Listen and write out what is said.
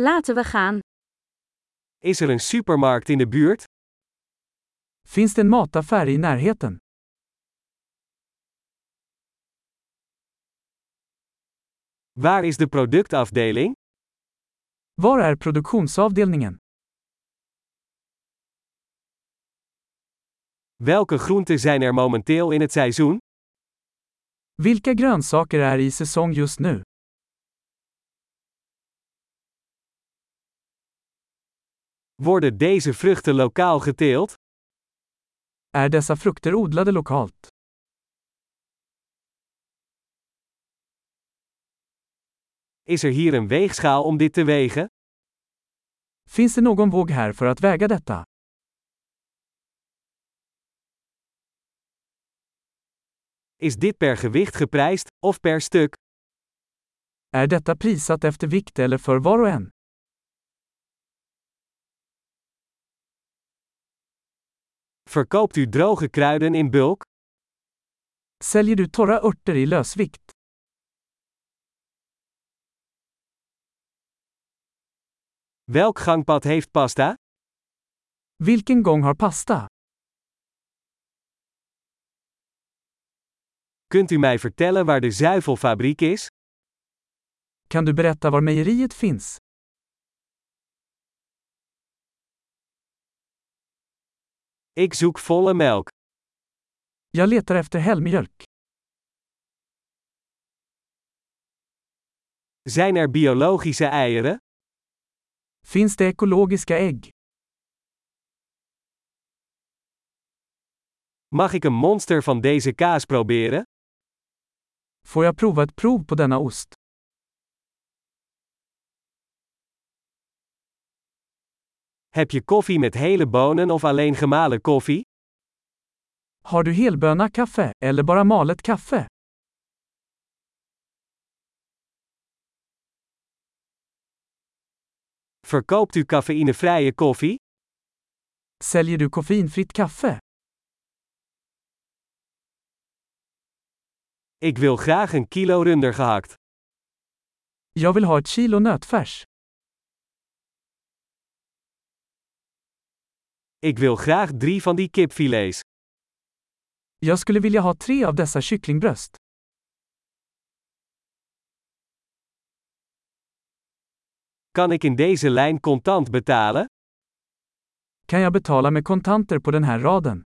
Laten we gaan. Is er een supermarkt in de buurt? Finns det en mataffär i närheten? Waar is de productafdeling? Var är produktionsavdelningen? Welke groenten zijn er momenteel in het seizoen? Vilka grönsaker är i säsong just nu? Worden deze vruchten lokaal geteeld? Är dessa frukter odlade lokalt? Is er hier een weegschaal om dit te wegen? Finns det någon våg här för att väga detta? Is dit per gewicht geprijsd of per stuk? Är detta prissatt efter vikt eller för var och en? Verkoopt u droge kruiden in bulk? Säljer du torra örter i lösvikt? Welk gangpad heeft pasta? Vilken gång har pasta? Kunt u mij vertellen waar de zuivelfabriek is? Kan du berätta var mejeriet finns? Ik zoek volle melk. Jag letar efter helmjölk. Zijn er biologische eieren? Finns det ekologiska ägg? Mag ik een monster van deze kaas proberen? Får jag prova ett prov på denna ost? Heb je koffie met hele bonen of alleen gemalen koffie? Har du helböna kaffe, eller bara malet kaffe? Verkoopt u cafeïnevrije koffie? Säljer du koffeinfritt kaffe? Ik wil graag een kilo runder gehakt. Jag vill ha ett kilo nötfärs. Ik wil graag drie van die kipfilets. Jag skulle vilja ha tre av dessa kycklingbröst. Kan ik in deze lijn contant betalen? Kan jag betala med kontanter på den här raden?